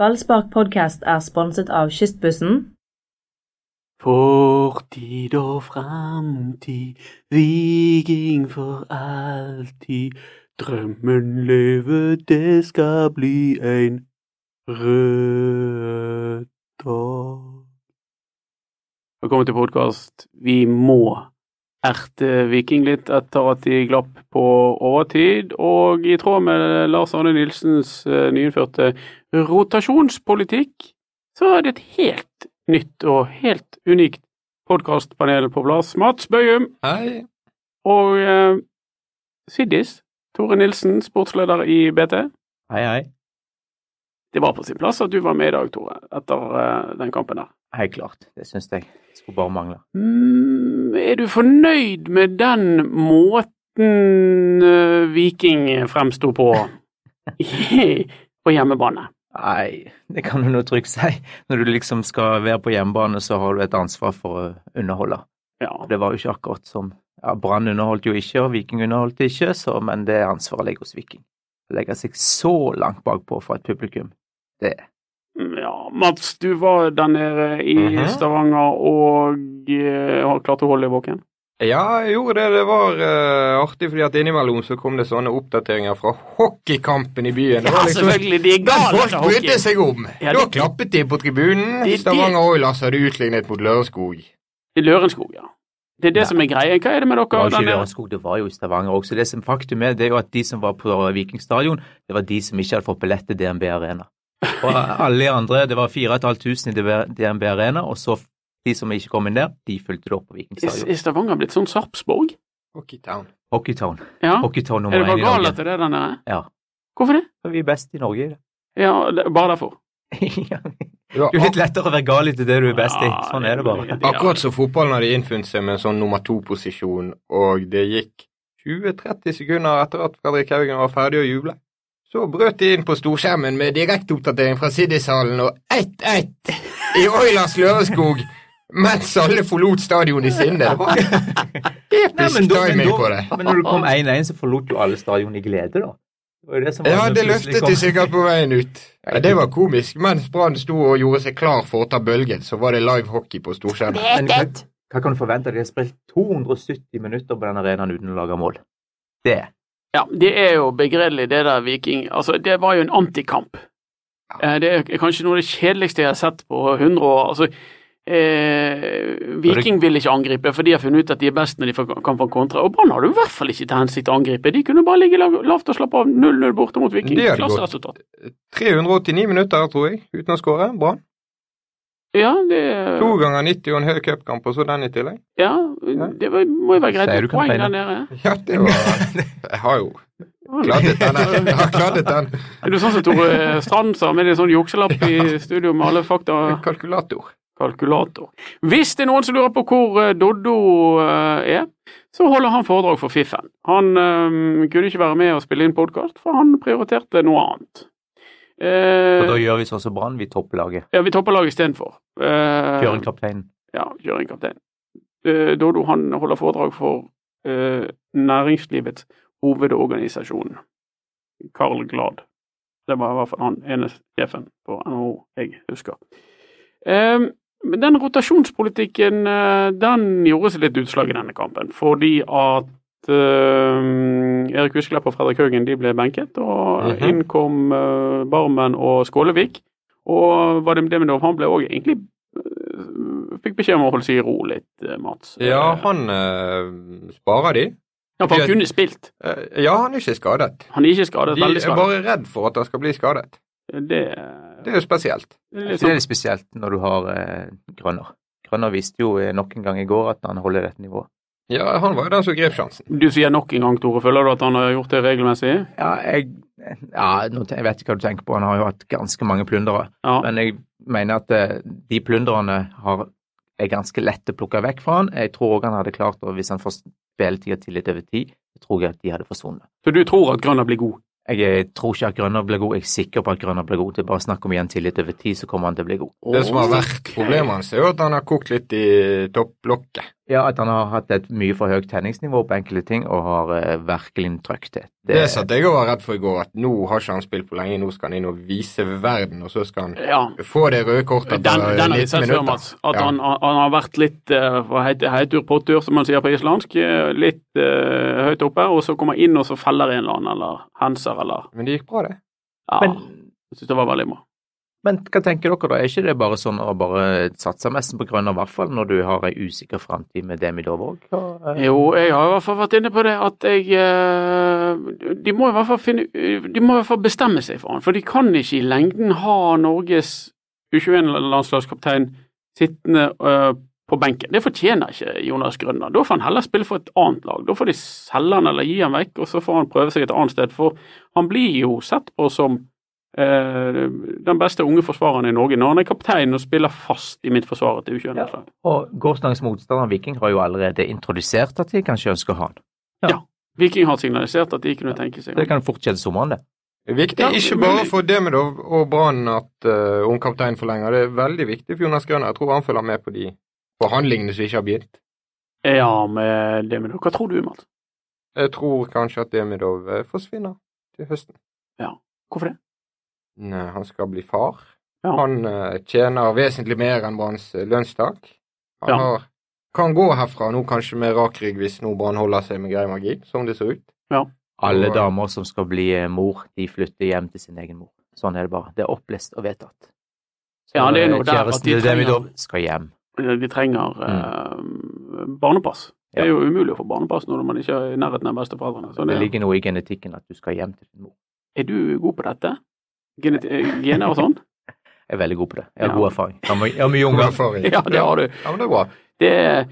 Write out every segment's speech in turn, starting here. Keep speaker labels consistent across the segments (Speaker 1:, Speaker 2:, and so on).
Speaker 1: Ballspark podkast er sponset av Kystbussen.
Speaker 2: Fortid og framtid, viking for alltid. Drømmen leve, det skal bli en rød dag. Velkommen til podkast. Vi må erte Viking litt etter at de glapp på overtid. Og i tråd med Lars Arne Nilsens eh, nyinnførte rotasjonspolitikk, så er det et helt nytt og helt unikt podkastpanel på plass. Mats Bøyum
Speaker 3: Hei.
Speaker 2: og eh, Siddis Tore Nilsen, sportsleder i BT.
Speaker 3: Hei, hei.
Speaker 2: Det var på sin plass at du var med i dag, Tore, etter eh, den kampen der.
Speaker 3: Helt klart, det syns jeg. Skulle bare mangle.
Speaker 2: Mm, er du fornøyd med den måten eh, Viking fremsto på i- på hjemmebane?
Speaker 3: Nei, det kan du nå trygt si. Når du liksom skal være på hjemmebane, så har du et ansvar for å underholde.
Speaker 2: Ja,
Speaker 3: Og det var jo ikke akkurat som ja, Brann underholdt jo ikke, og Viking underholdt ikke, så, men det ansvaret ligger hos Viking. Å legge seg så langt bakpå for et publikum, det
Speaker 2: Ja, Mats, du var der nede i
Speaker 3: Mhm.
Speaker 2: Stavanger og eh, har klart å holde deg våken?
Speaker 4: Ja, jeg gjorde det. Det var eh, artig, fordi at innimellom så kom det sånne oppdateringer fra hockeykampen i byen. Det var liksom
Speaker 2: selvfølgelig. De er
Speaker 4: den
Speaker 2: gale
Speaker 4: folk
Speaker 2: etter
Speaker 4: brydde
Speaker 2: hockey.
Speaker 4: seg om!
Speaker 2: Ja,
Speaker 4: da
Speaker 2: det-
Speaker 4: klappet de på tribunen.
Speaker 2: Det- det-
Speaker 4: Stavanger Oilers hadde utlignet mot Lørenskog.
Speaker 2: I Lørenskog, ja. Det er det
Speaker 3: Nei.
Speaker 2: som er greia. Hva er det med
Speaker 3: Det
Speaker 2: dere?
Speaker 3: var jo ikke
Speaker 2: der
Speaker 3: i
Speaker 2: nede?
Speaker 3: Lørenskog, det var jo i Stavanger også. Det som faktum er, det er jo at de som var på Vikingstadion, det var de som ikke hadde fått billett til DNB Arena. Og alle de andre, det var 4500 i DB- DNB Arena, og så de som ikke kom inn der, de fulgte det opp på
Speaker 2: Er-
Speaker 3: Vikingstadion.
Speaker 2: Er Stavanger blitt sånn Sarpsborg?
Speaker 4: Hockeytown.
Speaker 3: Hockeytown.
Speaker 2: Ja.
Speaker 3: Hockeytown
Speaker 2: Er
Speaker 3: nummer
Speaker 2: det
Speaker 3: én
Speaker 2: bare
Speaker 3: i
Speaker 2: galt
Speaker 3: Norge.
Speaker 2: etter det der nede?
Speaker 3: Ja.
Speaker 2: Hvorfor det?
Speaker 3: Vi er best i Norge i det.
Speaker 2: Ja, det- Bare derfor.
Speaker 3: Det
Speaker 4: Det var
Speaker 3: er jo litt
Speaker 4: ak
Speaker 3: lettere å være gal i til det du er best i.
Speaker 2: Ja,
Speaker 3: Sånn er det bare.
Speaker 2: ja.
Speaker 4: akkurat som fotballen hadde innfunnet seg med en sånn nummer to-posisjon, og det gikk 20-30 sekunder etter at Fredrik Haugen var ferdig å juble. Så brøt de inn på storskjermen med direkteoppdatering fra Siddishallen og 1-1 i Oilers Lørenskog mens alle forlot stadionet i sinne. Det var episk
Speaker 3: Nei, men da- men
Speaker 4: timing
Speaker 3: da-
Speaker 4: på det.
Speaker 3: Men når det kom 1-1, så forlot jo alle stadion i glede, da. Det var jo det som var
Speaker 4: Ja,
Speaker 3: når
Speaker 4: det
Speaker 3: plutselig
Speaker 4: løftet
Speaker 3: kom-
Speaker 4: de sikkert på veien ut. Ja, det var komisk. Mens Brann sto og gjorde seg klar for å ta bølgen, så var det live hockey på storskjermen.
Speaker 3: Men hva, hva kan du forvente? De har spilt 270 minutter på den arenaen uten å lage mål. Det
Speaker 2: Ja, det er jo begredelig, det der Viking. Altså, det var jo en antikamp. Eh, Det er kanskje noe av det kjedeligste jeg har sett på 100 år. Altså, eh, Viking vil ikke angripe, for de har funnet ut at de er best når de får- kan få kontra. Og Brann hadde jo i hvert fall ikke til hensikt å angripe. De kunne bare ligge lav- lavt og slappe av 0-0 borte mot Viking.
Speaker 4: Det hadde gått.
Speaker 2: Klasseresultat.
Speaker 4: 389 minutter, tror jeg, uten å skåre. Brann.
Speaker 2: Ja, det,
Speaker 4: To ganger 90 og en høy cupkamp, og så den i tillegg.
Speaker 2: ja, det var- må jo være greit.
Speaker 3: Sier du
Speaker 2: med Poeng
Speaker 3: kan
Speaker 2: der
Speaker 3: feile.
Speaker 2: nede.
Speaker 4: Ja, det var Jeg har jo kladdet den. her. Jeg har kladdet den.
Speaker 2: Er du sånn som Tore Strand sa, med en sånn jukselapp i studio med alle fakta?
Speaker 4: Kalkulator.
Speaker 2: kalkulator. Hvis det er noen som lurer på hvor eh, Doddo eh, er, så holder han foredrag for Fiffen. Han eh, kunne ikke være med og spille inn podkast, for han prioriterte noe annet.
Speaker 3: For da
Speaker 2: Eh,
Speaker 3: gjør vi sånn som Brann, vi topper laget.
Speaker 2: ja, vi topper laget istedenfor. Eh,
Speaker 3: Kjører en kaptein.
Speaker 2: ja, kjøring kaptein. Eh, Doddo han holder foredrag for eh, næringslivets hovedorganisasjon, Carl Glad. Det var i hvert fall han ene sjefen på NHO jeg husker. Eh, men den rotasjonspolitikken eh, den gjorde seg litt utslag i denne kampen, fordi at eh, Erik Husklepp og Fredrik Haugen de ble benket, og
Speaker 4: Mhm.
Speaker 2: inn kom eh, Barmen og Skålevik. Og Vadim Demidov han ble òg egentlig eh, fikk beskjed om å holde seg i ro litt, eh, Mats.
Speaker 4: Ja,
Speaker 2: Eh,
Speaker 4: han eh, sparer de.
Speaker 2: ja, for han kunne spilt.
Speaker 4: Eh, ja, han er ikke skadet.
Speaker 2: Han er ikke skadet,
Speaker 4: De
Speaker 2: veldig
Speaker 4: er
Speaker 2: skadet.
Speaker 4: bare redd for at han skal bli skadet.
Speaker 2: Det,
Speaker 4: Det er jo spesielt.
Speaker 2: det er litt
Speaker 3: Så det er
Speaker 2: sånn.
Speaker 3: litt spesielt når du har eh, Grønner. Grønner viste jo eh, nok en gang i går at han holder dette nivået.
Speaker 4: Ja, han var jo den som grep sjansen.
Speaker 2: Du sier nok en gang, Tore. Føler du at han har gjort det regelmessig?
Speaker 3: Ja, jeg, ja nå, te- jeg vet ikke hva du tenker på, han har jo hatt ganske mange plundere.
Speaker 2: Ja.
Speaker 3: Men jeg mener at eh, de plundrene har, er ganske lett å plukke vekk fra han. Jeg tror òg han hadde klart, og hvis han får spilletida tillit over tid, så tror jeg at de hadde forsvunnet.
Speaker 2: Så du tror at Grønner blir god?
Speaker 3: Jeg eh, tror ikke at Grønner blir god, jeg er sikker på at Grønner blir god. Det er bare snakk om igjen tillit over tid, så kommer han til å bli god.
Speaker 4: Det som har vært problemet hans, er jo at han har kokt litt i topplokket.
Speaker 3: Ja, at han har hatt et mye for høyt tenningsnivå på enkelte ting og har eh, virkelig trøkt det.
Speaker 4: Det, satt jeg og var redd for i går, at nå har ikke han spilt på lenge, nå skal han inn og vise verden, og så skal han
Speaker 2: Ja.
Speaker 4: få det røde kortet
Speaker 2: Den,
Speaker 4: etter
Speaker 2: den har jeg
Speaker 4: 19
Speaker 2: sett før, Mats. At han, han, han har vært litt eh, hva heter det, heitur pottur, som man sier på islandsk. eh, Litt eh, høyt oppe, og så kommer han inn og så feller en eller annen, eller henser, eller
Speaker 4: Men det gikk bra, det.
Speaker 2: ja,
Speaker 3: Eh, Men,
Speaker 2: Jeg syns det var veldig bra.
Speaker 3: men hva tenker dere da, er ikke det bare sånn å bare satse mest på grønne, i hvert fall når du har ei usikker framtid med Demidov òg? eh,
Speaker 2: Jo, jeg har i hvert fall vært inne på det at jeg eh, De må i hvert fall finne De må i hvert fall bestemme seg for han, for de kan ikke i lengden ha Norges U21-landslagskaptein sittende eh, på benken. Det fortjener ikke Jonas Grønland. Da får han heller spille for et annet lag. Da får de selge han eller gi han vekk, og så får han prøve seg et annet sted. For han blir jo sett på som eh, den beste unge forsvareren i Norge når han er kaptein og spiller fast i midtforsvaret til U21-landslaget.
Speaker 3: Og gårsdagens motstander Viking har jo allerede introdusert at de kanskje ønsker han.
Speaker 2: Viking har signalisert at de kunne tenke seg
Speaker 3: Det kan fortsette sommeren, det.
Speaker 4: Det er viktig
Speaker 2: Ja,
Speaker 4: ikke
Speaker 2: men-
Speaker 4: bare for Demidov og Brann at uh, ung kaptein forlenger. Det er veldig viktig for Jonas Grønner. Jeg tror han følger med på de forhandlingene som ikke har begynt.
Speaker 2: Ja, med det med Hva tror du, Mats?
Speaker 4: Jeg tror kanskje at Demidov eh, forsvinner til høsten.
Speaker 2: Hvorfor det?
Speaker 4: Nei, han skal bli far.
Speaker 2: Ja.
Speaker 4: Han eh, tjener vesentlig mer enn Branns eh, lønnstak. Han
Speaker 2: Ja.
Speaker 4: har, kan gå herfra nå kanskje med rak rygg hvis nå Brann holder seg med grei magi, som det ser ut.
Speaker 3: Alle
Speaker 4: Og-
Speaker 3: damer som skal bli eh, mor, de flytter hjem til sin egen mor. Sånn er det bare. Det er opplest og vedtatt. Så
Speaker 2: Ja, det er
Speaker 3: eh,
Speaker 2: noe der at
Speaker 3: kjæresten
Speaker 2: de
Speaker 3: til
Speaker 2: trenger-
Speaker 3: Demidov skal hjem.
Speaker 2: De trenger eh, barnepass. Det er jo umulig å få barnepass når man ikke er i nærheten av besteforeldrene. Så
Speaker 3: Det
Speaker 2: det,
Speaker 3: ligger noe i genetikken at du skal hjem til din mor.
Speaker 2: er du god på dette? Genet eh, gener og sånn?
Speaker 3: Jeg er veldig god på det. Jeg har
Speaker 2: Ja.
Speaker 3: god erfaring. Jeg har mye- Jeg har mye unger.
Speaker 4: erfaring.
Speaker 2: Ja, det har du.
Speaker 4: Ja, men det er bra.
Speaker 2: Det er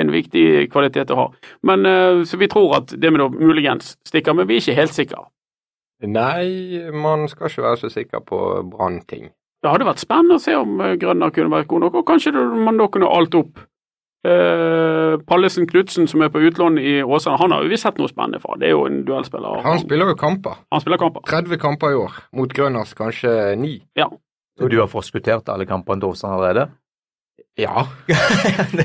Speaker 2: en viktig kvalitet å ha. Men eh, Så vi tror at det med det muligens stikker, men vi er ikke helt sikre.
Speaker 4: Nei, man skal ikke være så sikker på brannting.
Speaker 2: Det hadde vært spennende å se om eh, Grønner kunne vært god nok, og kanskje det- man da kunne alt opp. Eh, Pallesen Knutsen som er på utlån i Åsane, han har jo vi sett noe spennende fra. Det er jo en duellspiller.
Speaker 4: Han spiller jo kamper.
Speaker 2: han spiller kamper.
Speaker 4: 30 kamper i år, mot Grønners kanskje 9.
Speaker 3: Og du har forskuttert alle kampene til Åsane allerede?
Speaker 4: Ja,
Speaker 3: det,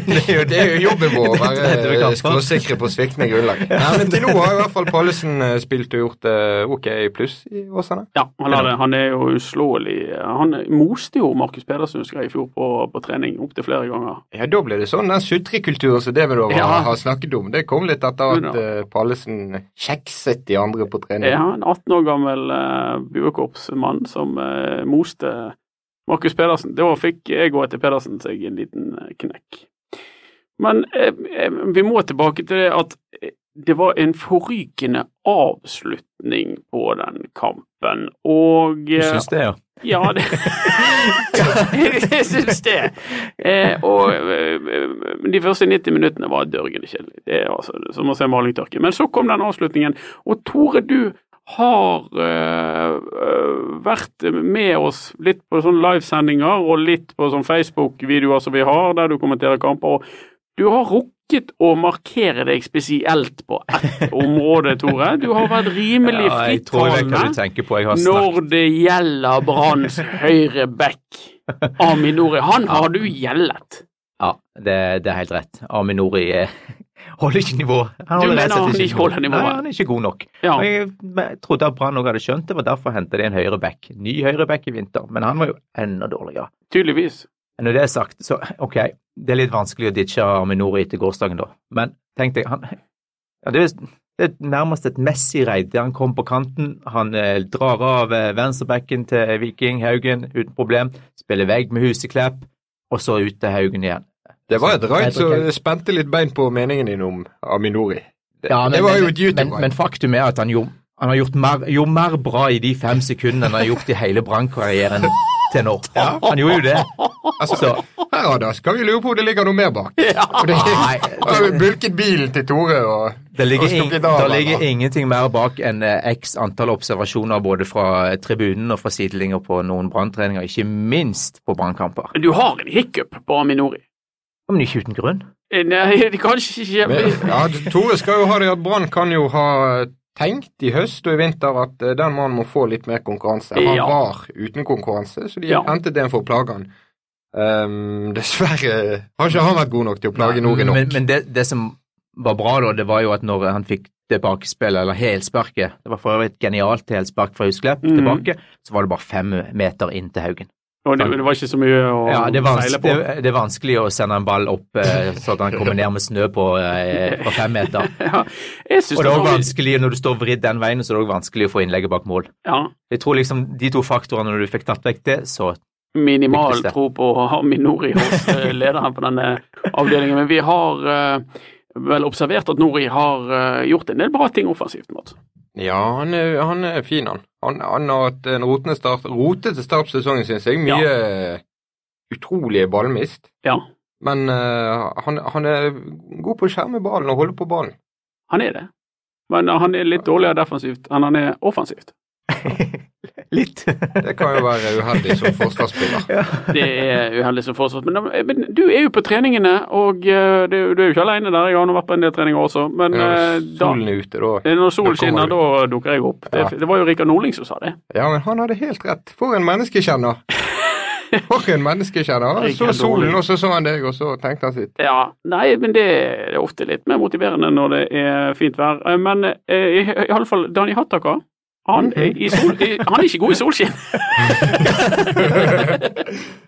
Speaker 4: det er jo, det er jo jobben vår å
Speaker 3: Det er det vi
Speaker 4: være eh,
Speaker 3: kan.
Speaker 4: skråsikre på sviktende grunnlag. Nei, men til nå har i hvert fall Pallesen eh, spilt og gjort det ok pluss i Åsane.
Speaker 2: Ja, han, har det. han er jo uslåelig. Han moste jo Markus Pedersen husker jeg i fjor på, på trening opptil flere ganger.
Speaker 4: Ja, da ble det sånn den sutrekulturen som Demidov har,
Speaker 2: Ja.
Speaker 4: har snakket om. Det kom litt etter
Speaker 2: Jo
Speaker 4: at
Speaker 2: da.
Speaker 4: eh, Pallesen kjekset de andre på
Speaker 2: Er
Speaker 4: trening.
Speaker 2: han en 18 år gammel eh, buekorpsmann som eh, moste Markus Pedersen? Da fikk jeg og etter Pedersen seg en liten eh, knekk. Men eh, eh, vi må tilbake til det at eh, det var en forrykende avslutning på den kampen, og
Speaker 3: Du
Speaker 2: eh,
Speaker 3: syns det, ja?
Speaker 2: Ja, det Jeg syns det. Eh, og eh, de første 90 minuttene var dørgende kjedelig. Det er altså som å se malingtørke. Men så kom den avslutningen. Og Tore, du har eh, eh, vært med oss litt på sånne livesendinger og litt på sånne Facebook-videoer som vi har, der du kommenterer kamper. Og du har rukket å markere deg spesielt på ett område, Tore. Du har vært rimelig
Speaker 3: Ja, jeg tror jeg vet hva du
Speaker 2: frittalende
Speaker 3: tenker på. Jeg har snakket
Speaker 2: når det gjelder Branns høyre back, Aminori. Han har du gjeldet.
Speaker 3: Ja, det, det er helt rett. Aminori eh, holder ikke nivå. Han
Speaker 2: Du mener
Speaker 3: rett og slett
Speaker 2: han ikke holder nivået?
Speaker 3: Nei, han er ikke god nok.
Speaker 2: Ja.
Speaker 3: Og Jeg, jeg trodde at Brann også hadde skjønt det, var derfor hentet de en høyre back. Ny høyre back i vinter, men han var jo enda dårligere.
Speaker 2: Tydeligvis.
Speaker 3: Men Når det er sagt, så ok, det er litt vanskelig å ditche Aminori etter gårsdagen, da. Men tenk deg, han ja, det, er, det er nærmest et Messi-raid. Han kom på kanten, han eh, drar av eh, venstrebacken til Viking Haugen uten problem, spiller vegg med Huseklepp, og så ut til Haugen igjen.
Speaker 4: Det var et raid
Speaker 3: Jeg tror
Speaker 4: som
Speaker 3: ikke-
Speaker 4: spente litt bein på meningen din om Aminori. Det,
Speaker 3: Ja, men,
Speaker 4: det var jo
Speaker 3: men-
Speaker 4: et youtube
Speaker 3: men, men faktum er at han, gjorde, han har gjort mer, gjorde mer bra i de fem sekundene han har gjort i hele Brann-karrieren til nå. Han gjorde jo det.
Speaker 4: Altså,
Speaker 3: Så-
Speaker 4: her Ada, skal vi lure på om det ligger noe mer bak. For det-
Speaker 3: Nei,
Speaker 4: Har vi bulket bilen til Tore og
Speaker 3: det ligger,
Speaker 4: og
Speaker 3: ing,
Speaker 4: stukket av,
Speaker 3: det ligger
Speaker 4: eller?
Speaker 3: ingenting mer bak enn eh, x antall observasjoner både fra tribunen og fra sidelinjer på noen Brann-treninger, ikke minst på Brann-kamper.
Speaker 2: Du har en hiccup på Aminori.
Speaker 3: Ja, Men ikke uten grunn.
Speaker 2: Eh, Nei, det kanskje ikke
Speaker 4: Men, ja, Tore skal jo ha det at Brann kan jo ha eh, tenkt i høst og i vinter at eh, den mannen må få litt mer konkurranse. Han
Speaker 2: Ja.
Speaker 4: var uten konkurranse, så de
Speaker 2: Ja.
Speaker 4: hentet en for plagene. Ehm, dessverre har ikke han vært god nok til å plage Nori nok.
Speaker 3: Men, men det, det som var bra, da, det var jo at når han fikk det bakspillet, eller helsparket Det var for øvrig et genialt helspark fra Husklepp
Speaker 4: Mm.
Speaker 2: Mhm.
Speaker 3: tilbake, så var det bare fem meter inn til Haugen.
Speaker 2: Og det, det var ikke så mye å
Speaker 3: Ja, det, er vans-
Speaker 2: seile på.
Speaker 3: det, det er vanskelig å sende en ball opp eh, så at han kommer ned med snø på, eh, på fem meter.
Speaker 2: Ja, jeg synes
Speaker 3: Og det
Speaker 2: det
Speaker 3: er også
Speaker 2: var
Speaker 3: vanskelig når du står vridd den veien, så er det også vanskelig å få innlegget bak mål.
Speaker 2: ja,
Speaker 3: Jeg tror liksom de to faktorene når du fikk tatt vekk det, så
Speaker 2: minimal
Speaker 3: Viktigste.
Speaker 2: tro på å ha Minori hos eh, lederen på denne avdelingen. Men vi har eh, vel observert at Nori har eh, gjort en del bra ting offensivt. Mats.
Speaker 4: Ja, han er, han er fin, han. Han, han har hatt en rotende start, rotete start på sesongen, syns jeg. Mye utrolige ballmist.
Speaker 2: Ja,
Speaker 4: Men eh, han, han er god på å skjerme ballen og holde på ballen.
Speaker 2: han er det. Men eh, han er litt dårligere defensivt enn han er offensivt.
Speaker 3: litt.
Speaker 4: Det kan jo være uheldig som forsvarsspiller.
Speaker 2: Det er uheldig som fortsatt. Men, men du er jo på treningene, og eh, det, du er jo ikke alene der. Jeg har nå vært på en del treninger også, men eh,
Speaker 4: Når
Speaker 2: da,
Speaker 4: solen er ute, da.
Speaker 2: det er når solen
Speaker 4: Da kommer
Speaker 2: skinner,
Speaker 4: du.
Speaker 2: da dukker jeg opp. Det,
Speaker 4: Ja.
Speaker 2: det var jo Rikard Nordling som sa det.
Speaker 4: Ja, men han hadde helt rett. For en menneskekjenner! For en menneskekjenner. Han så
Speaker 2: Rikard
Speaker 4: solen,
Speaker 2: Nordling.
Speaker 4: og så så han deg, og så tenkte han sitt.
Speaker 2: Ja, nei, men det er ofte litt mer motiverende når det er fint vær. Eh, Men eh, i i alle fall Dani Hattaka, han, er
Speaker 4: Mhm.
Speaker 2: i sol, i, han er ikke god i solskinn.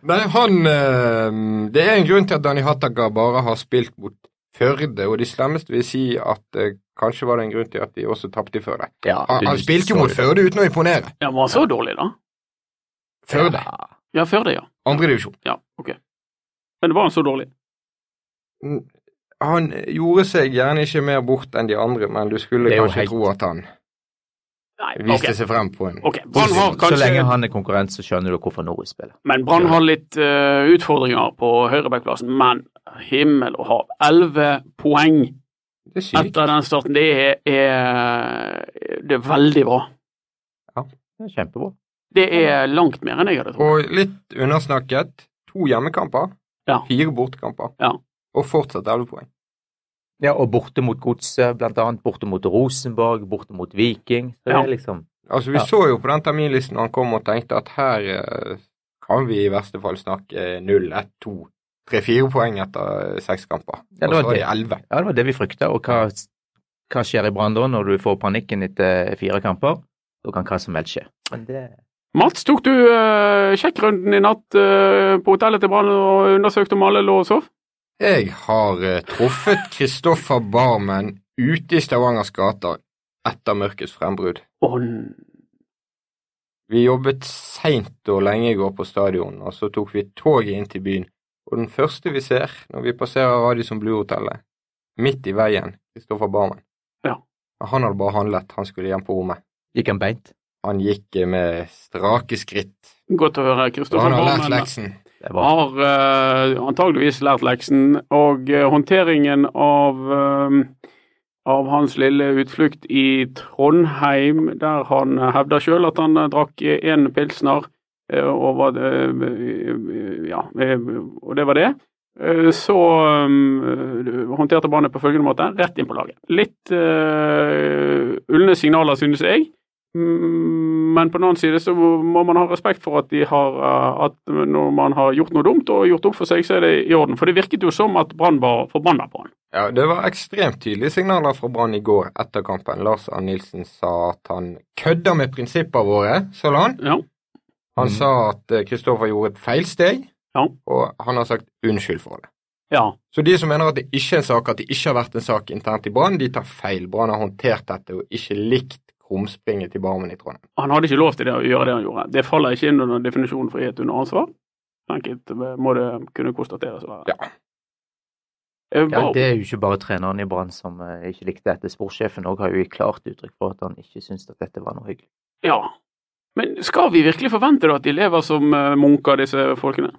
Speaker 4: Nei, han eh, Det er en grunn til at Dani Hattaga bare har spilt mot Førde, og de slemmeste vil si at eh, kanskje var det en grunn til at de også tapte i Førde.
Speaker 3: Ja,
Speaker 4: Han,
Speaker 3: du-
Speaker 4: han spilte jo
Speaker 3: så-
Speaker 4: mot Førde uten å imponere.
Speaker 2: Ja, var han så dårlig, da?
Speaker 4: Førde,
Speaker 3: Ja.
Speaker 2: Ja, før det, ja.
Speaker 4: andredivisjon.
Speaker 2: Ja, ok. Men var han så dårlig?
Speaker 4: Han gjorde seg gjerne ikke mer bort enn de andre, men du skulle
Speaker 3: Det er jo
Speaker 4: kanskje
Speaker 3: helt-
Speaker 4: tro at han
Speaker 2: Nei, ok.
Speaker 4: viste seg frem på en
Speaker 2: Ok, Brann har
Speaker 3: Så lenge
Speaker 2: kanskje
Speaker 3: han er konkurrent, så skjønner du hvorfor Nori spiller.
Speaker 2: Men Brann har litt eh, utfordringer på høyrebackplassen, men himmel og hav. Elleve poeng
Speaker 4: Det er sykt.
Speaker 2: etter den starten, det er, er Det er veldig bra.
Speaker 3: Det er Kjempebra.
Speaker 2: Det er langt mer enn jeg hadde trodd.
Speaker 4: Og litt undersnakket. To hjemmekamper,
Speaker 2: Ja.
Speaker 4: fire bortkamper,
Speaker 2: Ja.
Speaker 4: og fortsatt 11 poeng.
Speaker 3: Ja, og borte mot Godset, blant annet. Borte mot Rosenborg, borte mot Viking. Så det
Speaker 2: Ja.
Speaker 3: er liksom
Speaker 4: Altså, vi
Speaker 3: Ja.
Speaker 4: så jo på den terminlisten han kom og tenkte at her eh, kan vi i verste fall snakke 0, 1, 2, 3, 4 poeng etter eh, seks kamper.
Speaker 3: Ja,
Speaker 4: og
Speaker 3: det var
Speaker 4: så er
Speaker 3: det.
Speaker 4: det 11.
Speaker 3: Ja, det var det vi frykta. Og hva, hva skjer i Brann da, når du får panikken etter fire kamper? Da kan hva som helst skje. Men det
Speaker 2: Mats, tok du eh, sjekkrunden i natt eh, på hotellet til Brann og undersøkte om alle lå og sov?
Speaker 4: Jeg har eh, truffet Kristoffer Barmen ute i Stavangers gater etter mørkets frembrudd.
Speaker 2: Å,
Speaker 4: Vi jobbet seint og lenge i går på stadion, og så tok vi toget inn til byen. Og den første vi ser når vi passerer Radisson Blue-hotellet, midt i veien, Kristoffer Barmen.
Speaker 2: Ja.
Speaker 4: Han hadde bare handlet, han skulle hjem på rommet.
Speaker 3: gikk han beint.
Speaker 4: Han gikk eh, med strake skritt.
Speaker 2: godt å høre.
Speaker 4: Og
Speaker 2: Kristoffer
Speaker 4: han har lært
Speaker 2: Barmen
Speaker 4: leksen.
Speaker 3: Det var
Speaker 2: har eh, antageligvis lært leksen, og eh, håndteringen av eh, av hans lille utflukt i Trondheim, der han hevder sjøl at han eh, drakk én pilsner, eh, og, var, eh, ja, eh, og det var det. Eh, Så eh, håndterte Brann det på følgende måte, rett inn på laget. Litt eh, ulne signaler, synes jeg. Mm, Men på den annen side så må man ha respekt for at, de har, eh, at når man har gjort noe dumt og gjort opp for seg, så er det i orden. For det virket jo som at Brann var forbanna på han.
Speaker 4: Ja, det var ekstremt tydelige signaler fra Brann i går etter kampen. Lars Arne Nilsen sa at han kødder med prinsippene våre, sa han.
Speaker 2: Ja.
Speaker 4: Han
Speaker 3: Mhm.
Speaker 4: sa at eh, Kristoffer gjorde et feilsteg,
Speaker 2: Mm. Ja.
Speaker 4: og han har sagt unnskyld for det.
Speaker 2: ja.
Speaker 4: Så de som mener at det ikke er en sak, at det ikke har vært en sak internt i Brann, de tar feil. Brann har håndtert dette og ikke likt krumspringet til Barmen i Trondheim.
Speaker 2: Han hadde ikke lov til det å gjøre det han gjorde. Det faller ikke inn under definisjonen frihet under ansvar. Enkelt må det kunne konstateres. å være.
Speaker 4: Ja.
Speaker 2: Eh,
Speaker 3: Ja,
Speaker 2: Bar-
Speaker 3: det er jo ikke bare treneren i Brann som eh, ikke likte dette. Sportssjefen òg har jo gitt klart uttrykk for at han ikke syntes at dette var noe hyggelig.
Speaker 2: ja. Men skal vi virkelig forvente da at de lever som eh, munker, disse folkene?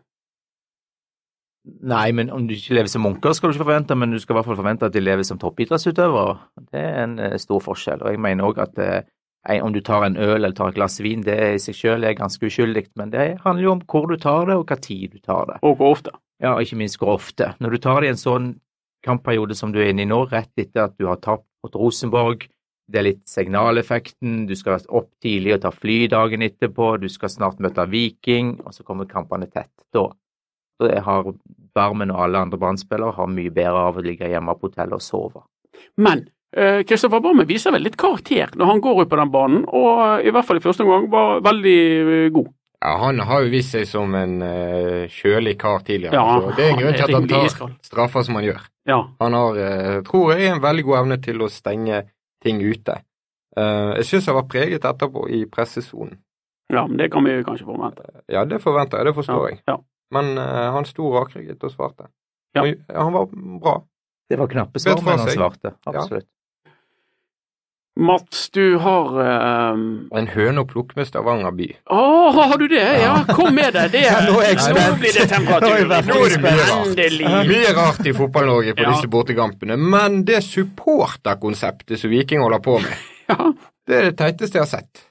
Speaker 3: Nei, men om du ikke lever som munker, skal du ikke forvente, men du skal i hvert fall forvente at de lever som toppidrettsutøvere. Det er en eh, stor forskjell. Og jeg mener òg at eh, en- om du tar en øl eller tar et glass vin, det er i seg selv er ganske uskyldig, men det handler jo om hvor du tar det, og hva tid du tar det.
Speaker 2: Og hvor ofte?
Speaker 3: Ja, og ikke minst hvor ofte. Når du tar det i en sånn kampperiode som du er inne i nå, rett etter at du har tapt mot Rosenborg, det er litt signaleffekten, du skal opp tidlig og ta fly dagen etterpå, du skal snart møte Viking, og så kommer kampene tett. Da, Så jeg har Barmen og alle andre brannspillere har mye bedre av å ligge hjemme på hotellet og sove.
Speaker 2: Men eh, Kristoffer Barmen viser vel litt karakter når han går ut på den banen, og eh, i hvert fall i første omgang var veldig eh, god.
Speaker 4: Ja, han har jo vist seg som en eh, kjølig kar tidligere.
Speaker 2: Ja,
Speaker 4: så det er en grunn til at han
Speaker 2: rimelig
Speaker 4: tar
Speaker 2: iskald.
Speaker 4: straffer som han gjør.
Speaker 2: Ja.
Speaker 4: Han har, eh, tror jeg, en veldig god evne til å stenge ting ute. Eh, jeg syns han var preget etterpå i pressesonen.
Speaker 2: ja, men det kan vi kanskje forvente.
Speaker 4: Ja, det forventer jeg, det forstår jeg.
Speaker 2: Ja.
Speaker 4: Men eh, han sto rakrygget og svarte.
Speaker 2: Ja.
Speaker 4: Og, han var bra.
Speaker 3: Det var knappe
Speaker 4: Vet
Speaker 3: svar,
Speaker 4: for
Speaker 3: men han
Speaker 4: seg.
Speaker 3: svarte. Absolutt.
Speaker 2: Mats, du har eh,
Speaker 4: En høne å plukke med Stavanger by.
Speaker 2: Å, har du det? Ja, kom med deg. Det,
Speaker 4: Ja, nå er jeg spent.
Speaker 2: blir det
Speaker 3: Nå er jeg
Speaker 2: temperatur.
Speaker 3: veldig
Speaker 2: Nå er det
Speaker 4: spent.
Speaker 2: endelig.
Speaker 4: Mye rart i Fotball-Norge på
Speaker 2: Ja.
Speaker 4: disse bortekampene, men det supporterkonseptet som Viking holder på med,
Speaker 2: Ja,
Speaker 4: det er det teiteste jeg har sett.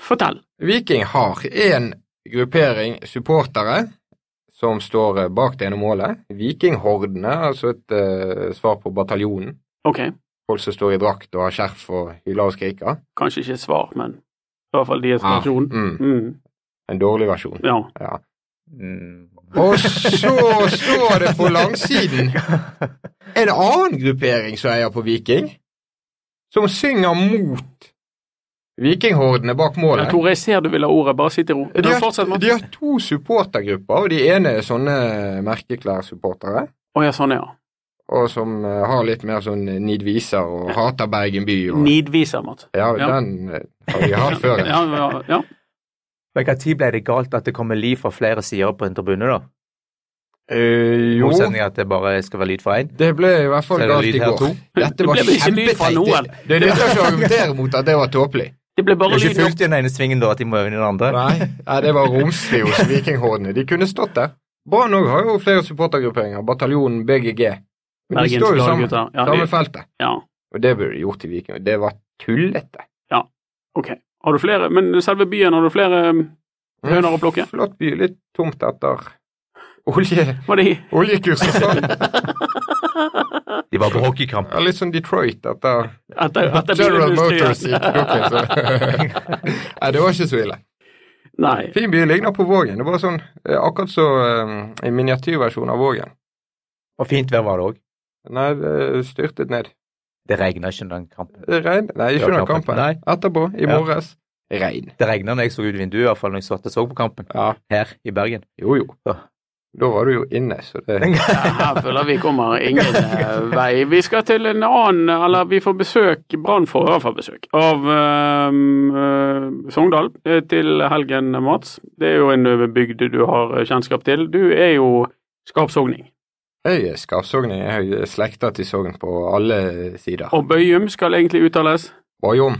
Speaker 2: fortell.
Speaker 4: Viking har én gruppering supportere som står eh, bak det ene målet. Vikinghordene, altså et eh, svar på bataljonen.
Speaker 2: Ok,
Speaker 4: Folk som står i drakt og har skjerf og hyller og skriker.
Speaker 2: kanskje ikke et svar, men i hvert fall de versjon.
Speaker 4: Mm,
Speaker 2: Mm,
Speaker 4: en dårlig versjon.
Speaker 2: ja.
Speaker 4: Ja.
Speaker 3: Mm.
Speaker 4: Og så står det på langsiden en annen gruppering som eier på Viking, som synger mot vikinghordene bak
Speaker 2: ja,
Speaker 4: målet.
Speaker 2: Tore, jeg ser du vil ha ordet. Bare sitt i ro.
Speaker 4: eh. De
Speaker 2: Men fortsett,
Speaker 4: har,
Speaker 2: Mats.
Speaker 4: de har to supportergrupper, og de ene er sånne merkeklær-supportere.
Speaker 2: Å ja, sånn, ja.
Speaker 4: og som eh, har litt mer sånn nidviser og hater Bergen by. Og,
Speaker 2: Nidviser, Mats.
Speaker 4: ja,
Speaker 2: ja.
Speaker 4: den eh, har jeg hatt før.
Speaker 2: Ja, ja, ja.
Speaker 3: Men når ble det galt at det kommer liv fra flere sider på en tribune, da?
Speaker 4: Eh,
Speaker 3: I
Speaker 4: jo,
Speaker 3: motsetning at det bare skal være lyd fra én?
Speaker 4: det ble i hvert fall
Speaker 3: Så er det
Speaker 4: galt
Speaker 3: lyd
Speaker 4: i
Speaker 3: her
Speaker 4: går.
Speaker 3: to.
Speaker 4: Dette
Speaker 2: Det
Speaker 4: var
Speaker 2: ble vel ikke lyd fra
Speaker 4: kjempeteit.
Speaker 2: noen.
Speaker 4: Det- Det nytter ikke å argumentere mot at det var tåpelig.
Speaker 2: Det ble
Speaker 3: Det
Speaker 2: bare
Speaker 3: er ikke
Speaker 2: lyd nok.
Speaker 3: fullt i den ene svingen da at de må øve i den andre?
Speaker 4: Nei, nei, det var romslig hos vikinghordene. De kunne stått der. Brann òg har jo flere supportergrupperinger. Bataljonen BGG. Men de
Speaker 2: Bergens
Speaker 4: står jo
Speaker 2: glade
Speaker 4: sammen.
Speaker 2: gutter. Ja,
Speaker 4: Samme
Speaker 2: det-
Speaker 4: feltet.
Speaker 2: ja,
Speaker 4: Og det burde de gjort i Viking. og Det var tullete.
Speaker 2: ok. Har du flere? Men selve byen, har du flere um, høner å plukke?
Speaker 4: Mm, Flott by. Litt tomt etter olje,
Speaker 2: Var det
Speaker 4: oljekursen.
Speaker 3: De var på hockeykamp.
Speaker 4: Ja, litt som Detroit, etter
Speaker 2: etter, etter
Speaker 4: General Motors
Speaker 2: bilindustrien?
Speaker 4: gikk kokken. Så. Nei, det var ikke så ille.
Speaker 2: Nei.
Speaker 4: Fin by ligner på Vågen. Det var sånn, eh, akkurat så eh, en miniatyrversjon av Vågen.
Speaker 3: Og fint vær var det òg.
Speaker 4: Nei, det styrtet ned.
Speaker 3: Det regna ikke under den kampen.
Speaker 4: Det regn... Nei, ikke
Speaker 3: Det var
Speaker 4: under
Speaker 3: kampen.
Speaker 4: kampen.
Speaker 3: Nei.
Speaker 4: Etterpå, i
Speaker 3: Ja.
Speaker 4: morges. Regn.
Speaker 3: Det regna når jeg så ut vinduet, i hvert fall når jeg satt og så på kampen
Speaker 4: Ja,
Speaker 3: her i Bergen.
Speaker 4: jo jo.
Speaker 3: Ja.
Speaker 4: Da var du jo inne, så det
Speaker 2: Ja, Her føler vi kommer ingen eh, vei. Vi skal til en annen, eller vi får besøk, Brann får i hvert fall besøk, av eh, eh, Sogndal eh, til helgen, Mats. Det er jo en eh, bygd du har eh, kjennskap til. Du er jo skarpsogning.
Speaker 4: Jeg er skarpsogning. Jeg er slekta til Sogn på alle sider.
Speaker 2: Og Bøyum skal egentlig uttales
Speaker 4: Bajom.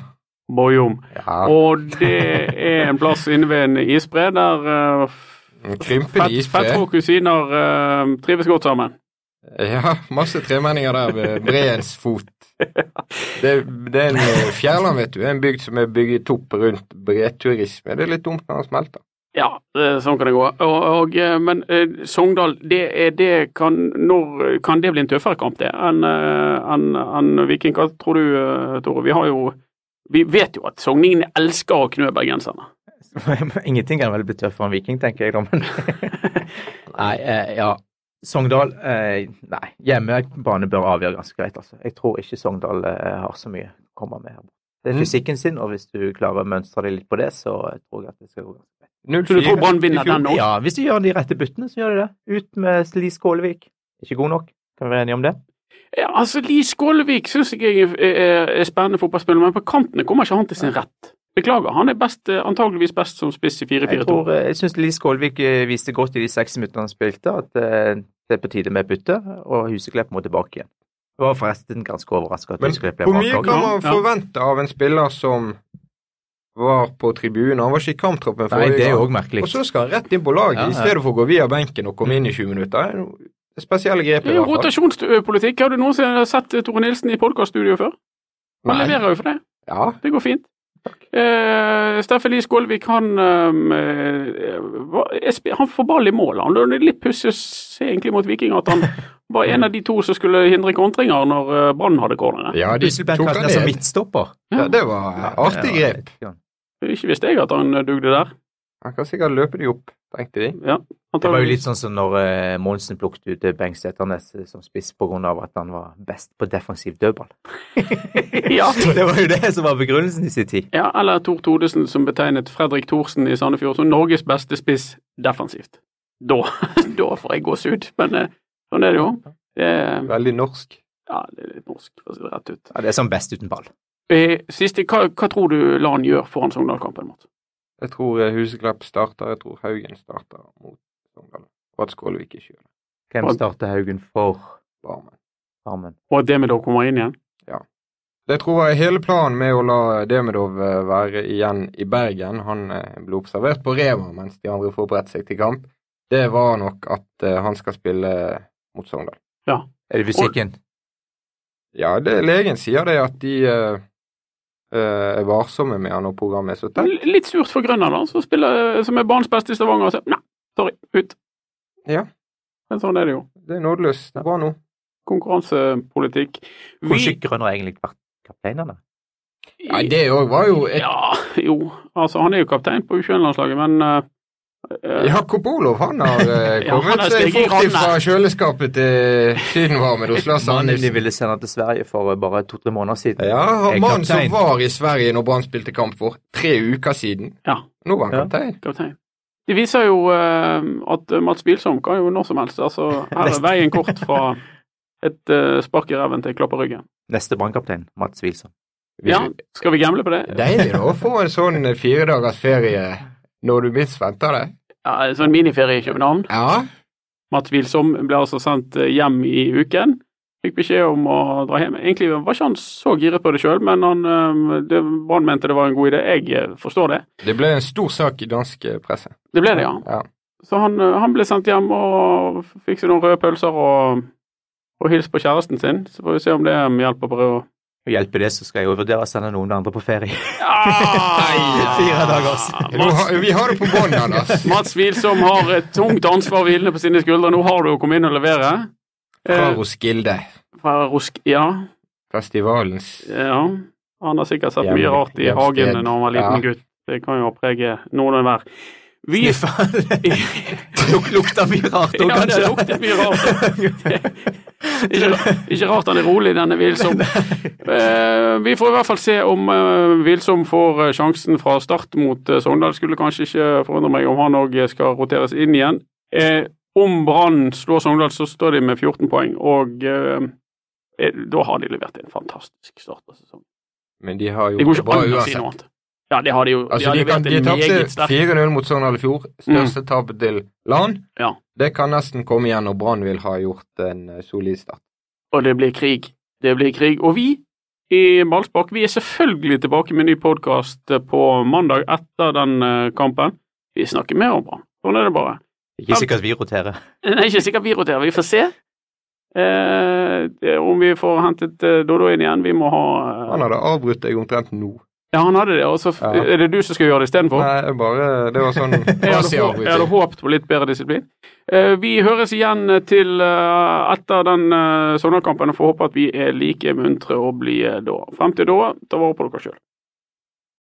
Speaker 2: Bøyum.
Speaker 4: Ja.
Speaker 2: Og det er en plass inne ved en isbre der eh,
Speaker 4: en
Speaker 2: fett-
Speaker 4: Krympende isbre.
Speaker 2: fettere og kusiner eh, trives godt sammen.
Speaker 4: Ja, masse tremenninger der ved breens fot. Det, det er en eh, Fjærland, vet du, er en bygd som er bygget opp rundt breturisme. Det er litt dumt når den smelter.
Speaker 2: Ja, eh, sånn kan det gå. Og, og, eh, men eh, Sogndal, det er det kan, når, kan det bli en tøffere kamp det enn eh, enn- enn Viking? Hva tror du, eh, Tore? Vi, har jo, vi vet jo at sogningene elsker å knø bergenserne.
Speaker 3: Ingenting kan vel bli tøffere enn Viking, tenker jeg da, men Nei, eh, ja. Sogndal eh, Nei, hjemmebane bør avgjøre ganske greit, altså. Jeg tror ikke Sogndal eh, har så mye å komme med. her. Det er
Speaker 4: Mm.
Speaker 3: fysikken sin, og hvis du klarer å mønstre deg litt på det, så tror jeg at det skal gå ganske
Speaker 2: Så
Speaker 3: greit.
Speaker 2: du tror Brann vinner den nå?
Speaker 3: Ja, hvis du gjør de rette byttene, så gjør de det. Ut med Li Skålevik. Ikke god nok, kan vi være enige om det?
Speaker 2: Ja, altså, Li Skålevik syns jeg er, er, er spennende fotballspiller, men på kantene kommer ikke han til sin rett. Beklager, han er best, eh, antageligvis best som spiss i
Speaker 3: Jeg,
Speaker 2: 4-4-2.
Speaker 3: tror, eh, jeg syns Lie Skålvik eh, viste godt i de seks minuttene han spilte, at eh, det er på tide med bytte, og Huseklepp må tilbake igjen. Jeg var forresten ganske overraska at
Speaker 4: Men
Speaker 3: Huseklepp ble
Speaker 4: hvor mye
Speaker 3: vraket.
Speaker 4: kan man
Speaker 2: Ja.
Speaker 4: forvente av en spiller som var på tribunen? Han var ikke i kamptroppen
Speaker 3: Nei,
Speaker 4: forrige
Speaker 3: det er jo
Speaker 4: gang.
Speaker 3: òg merkelig.
Speaker 4: Og så skal han rett inn på laget,
Speaker 3: Ja,
Speaker 4: i
Speaker 3: ja.
Speaker 4: stedet for å gå via benken og komme inn i 20 minutter. Det er noe Spesielle grep,
Speaker 2: Det
Speaker 4: i
Speaker 2: er jo
Speaker 4: hvert fall.
Speaker 2: rotasjonspolitikk. Har du noensinne sett eh, Tore Nilsen i podkaststudio før? Han
Speaker 4: Nei.
Speaker 2: leverer jo for det.
Speaker 4: Ja.
Speaker 2: Det går fint. Eh, Steffen Lie Skålvik han, ehm, eh, var- er sp- han får ball i mål. Han Det er litt pussig å se egentlig mot Viking at han var en av de to som skulle hindre kontringer når eh, Brann hadde cornere.
Speaker 4: ja, de
Speaker 3: Huseband
Speaker 4: tok
Speaker 3: kalte
Speaker 4: han
Speaker 3: han som
Speaker 4: ned.
Speaker 3: midtstopper.
Speaker 4: Ja, det var eh, artig grep.
Speaker 3: Ja,
Speaker 2: Ikke visste jeg at han eh, dugde der.
Speaker 4: Han kan sikkert løpe de opp. Tenkte de.
Speaker 2: Ja,
Speaker 3: Det var jo
Speaker 2: antageligvis.
Speaker 3: litt sånn som når eh, Monsen plukket ut eh, Bengt Sæternes eh, som spiss på grunn av at han var best på defensiv dødball.
Speaker 2: ja.
Speaker 3: Det var jo det som var begrunnelsen i sin tid.
Speaker 2: ja, eller Tor Todesen som betegnet Fredrik Thorsen i Sandefjord som Norges beste spiss defensivt. Da, da får jeg gåsehud, men eh, sånn er det jo. Det, er-
Speaker 4: Veldig norsk.
Speaker 2: ja, det er litt norsk, for å si det rett ut.
Speaker 3: Ja, det er som best uten ball.
Speaker 2: Eh, Siste, hva, hva tror du Lan gjør foran Sogndal-kampen? Mats?
Speaker 4: Jeg tror eh, Huseklepp starter, jeg tror Haugen starter mot Sogndal. Og at Skålevik ikke gjør det.
Speaker 3: Hvem
Speaker 2: Og-
Speaker 3: starter Haugen for
Speaker 4: Barmen.
Speaker 3: Barmen?
Speaker 2: Og at Demidov kommer inn igjen?
Speaker 4: Det tror jeg hele planen med å la Demidov eh, være igjen i Bergen, han eh, ble observert på Rema mens de andre forberedte seg til kamp, det var nok at eh, han skal spille mot Sogndal.
Speaker 3: Er det fysikken?
Speaker 4: Ja, det, legen sier det at de eh, eh, er varsomme med han og programmet er så tett.
Speaker 2: L- Litt surt for Grønland, da, som, spiller, eh, som er banens beste i Stavanger. og så- Nei, sorry, ut.
Speaker 4: Ja.
Speaker 2: Men sånn er det jo.
Speaker 4: Det er nådeløst. Bra nå.
Speaker 2: Konkurransepolitikk. Vi-
Speaker 3: Hvor tjukk grønn har egentlig vært kapteinene?
Speaker 4: Ja, det òg var jo et
Speaker 2: Ja, jo. Altså, han er jo kaptein på U21-landslaget, men eh, eh,
Speaker 4: Jakob Olof han har eh,
Speaker 2: Ja, han
Speaker 4: kommet
Speaker 2: har
Speaker 4: seg
Speaker 2: steget i
Speaker 4: fort
Speaker 2: grann,
Speaker 4: fra kjøleskapet til sydenvarmen hos Lars
Speaker 3: Mannen de
Speaker 4: Andersen.
Speaker 3: ville sende til Sverige for eh, bare to-tre måneder siden.
Speaker 4: Ja,
Speaker 2: Eh,
Speaker 3: Er
Speaker 4: mannen som
Speaker 3: kaptein.
Speaker 4: var i Sverige når Brann spilte kamp for tre uker siden.
Speaker 2: Ja.
Speaker 4: Nå var han
Speaker 3: Ja.
Speaker 4: kaptein.
Speaker 2: kaptein. Det viser jo eh, at Mats Bilsom kan jo når som helst. Altså, her er
Speaker 3: Nesten.
Speaker 2: veien kort fra et eh, spark i ræven til klapp på ryggen.
Speaker 3: Neste brannkaptein, Mats Wilson.
Speaker 2: Ja, skal vi gamble på det?
Speaker 4: Deilig da å få en sånn eh, fire dagers ferie når du minst venter det.
Speaker 2: Ja, sånn miniferie i København.
Speaker 4: Ja,
Speaker 2: Mats Wilsom ble altså sendt hjem i uken. Fikk beskjed om å dra hjem. Egentlig var ikke han så giret på det sjøl, men han, øhm, det, Brann mente det var en god idé. Jeg eh, forstår det.
Speaker 4: det ble en stor sak i dansk eh, presse.
Speaker 2: Det ble det, ja.
Speaker 4: Ja.
Speaker 2: Så han, eh, han ble sendt hjem og fikk seg noen røde pølser og, og hilste på kjæresten sin. Så får vi se om det eh, hjelper på det. og-
Speaker 3: Og hjelper det, så skal jeg jo vurdere å sende noen andre på ferie.
Speaker 2: Ah!
Speaker 3: Fire dagers.
Speaker 4: Nå
Speaker 2: Mats,
Speaker 4: har- Vi har det på bånn, Anders.
Speaker 2: Mats Wilsom har et tungt ansvar hvilende på sine skuldre. Nå har du å komme inn og levere.
Speaker 4: Fra
Speaker 2: Eh,
Speaker 4: Roskilde.
Speaker 2: fra Rosk... Ja.
Speaker 4: Festivalens
Speaker 2: Ja, han har sikkert sett
Speaker 4: Hjem-
Speaker 2: mye rart i
Speaker 4: hjemsted.
Speaker 2: hagen når han var liten
Speaker 4: Ja.
Speaker 2: gutt. Det kan jo prege noen og hver. Vi
Speaker 3: Sniffa Luk, lukta mye rart òg,
Speaker 2: Ja, det luktet mye rart. Ikke, ra- ikke rart han er rolig, denne Wilsom. Eh, vi får i hvert fall se om eh, Wilsom får eh, sjansen fra start mot eh, Sogndal. Skulle kanskje ikke forundre meg om han òg skal roteres inn igjen. Eh, om Brann slår Sogndal, så står de med 14 poeng, og eh, eh, da har de levert en fantastisk start på sesongen.
Speaker 4: Men de har
Speaker 2: Det
Speaker 4: jo
Speaker 2: går ikke
Speaker 4: bra
Speaker 2: an å si noe
Speaker 4: uansett.
Speaker 2: annet. Ja, det har de jo.
Speaker 4: Altså,
Speaker 2: de
Speaker 4: de,
Speaker 2: har
Speaker 4: kan-
Speaker 2: levert
Speaker 4: de
Speaker 2: en meget
Speaker 4: tapte
Speaker 2: sterk
Speaker 4: 4-0 mot Sogndal i fjor. Største tapet til LAN.
Speaker 2: Ja.
Speaker 4: Det kan nesten komme igjen når Brann vil ha gjort en eh, solid start.
Speaker 2: Og det blir krig. Det blir krig. Og vi i Ballspark vi er selvfølgelig tilbake med en ny podkast på mandag etter den eh, kampen. Vi snakker mer om Brann. Sånn er det bare.
Speaker 3: Ikke sikkert vi roterer.
Speaker 2: Det er ikke sikkert vi roterer, vi får se. Eh, det- om vi får hentet eh, Dodo inn igjen. Vi må ha eh,
Speaker 4: Han hadde avbrutt deg omtrent nå.
Speaker 2: Ja, han hadde det, og så f-
Speaker 4: Ja.
Speaker 2: er det du som skal gjøre det istedenfor?
Speaker 4: Nei, jeg bare Det var sånn
Speaker 2: Jeg hadde, hå- jeg hadde
Speaker 4: quasi-avbryting.
Speaker 2: håpet på litt bedre disiplin. Eh, vi høres igjen til eh, etter den eh, uh, Sogndal-kampen og får håpe at vi er like muntre og blide da. Frem til da, ta vare på dere sjøl.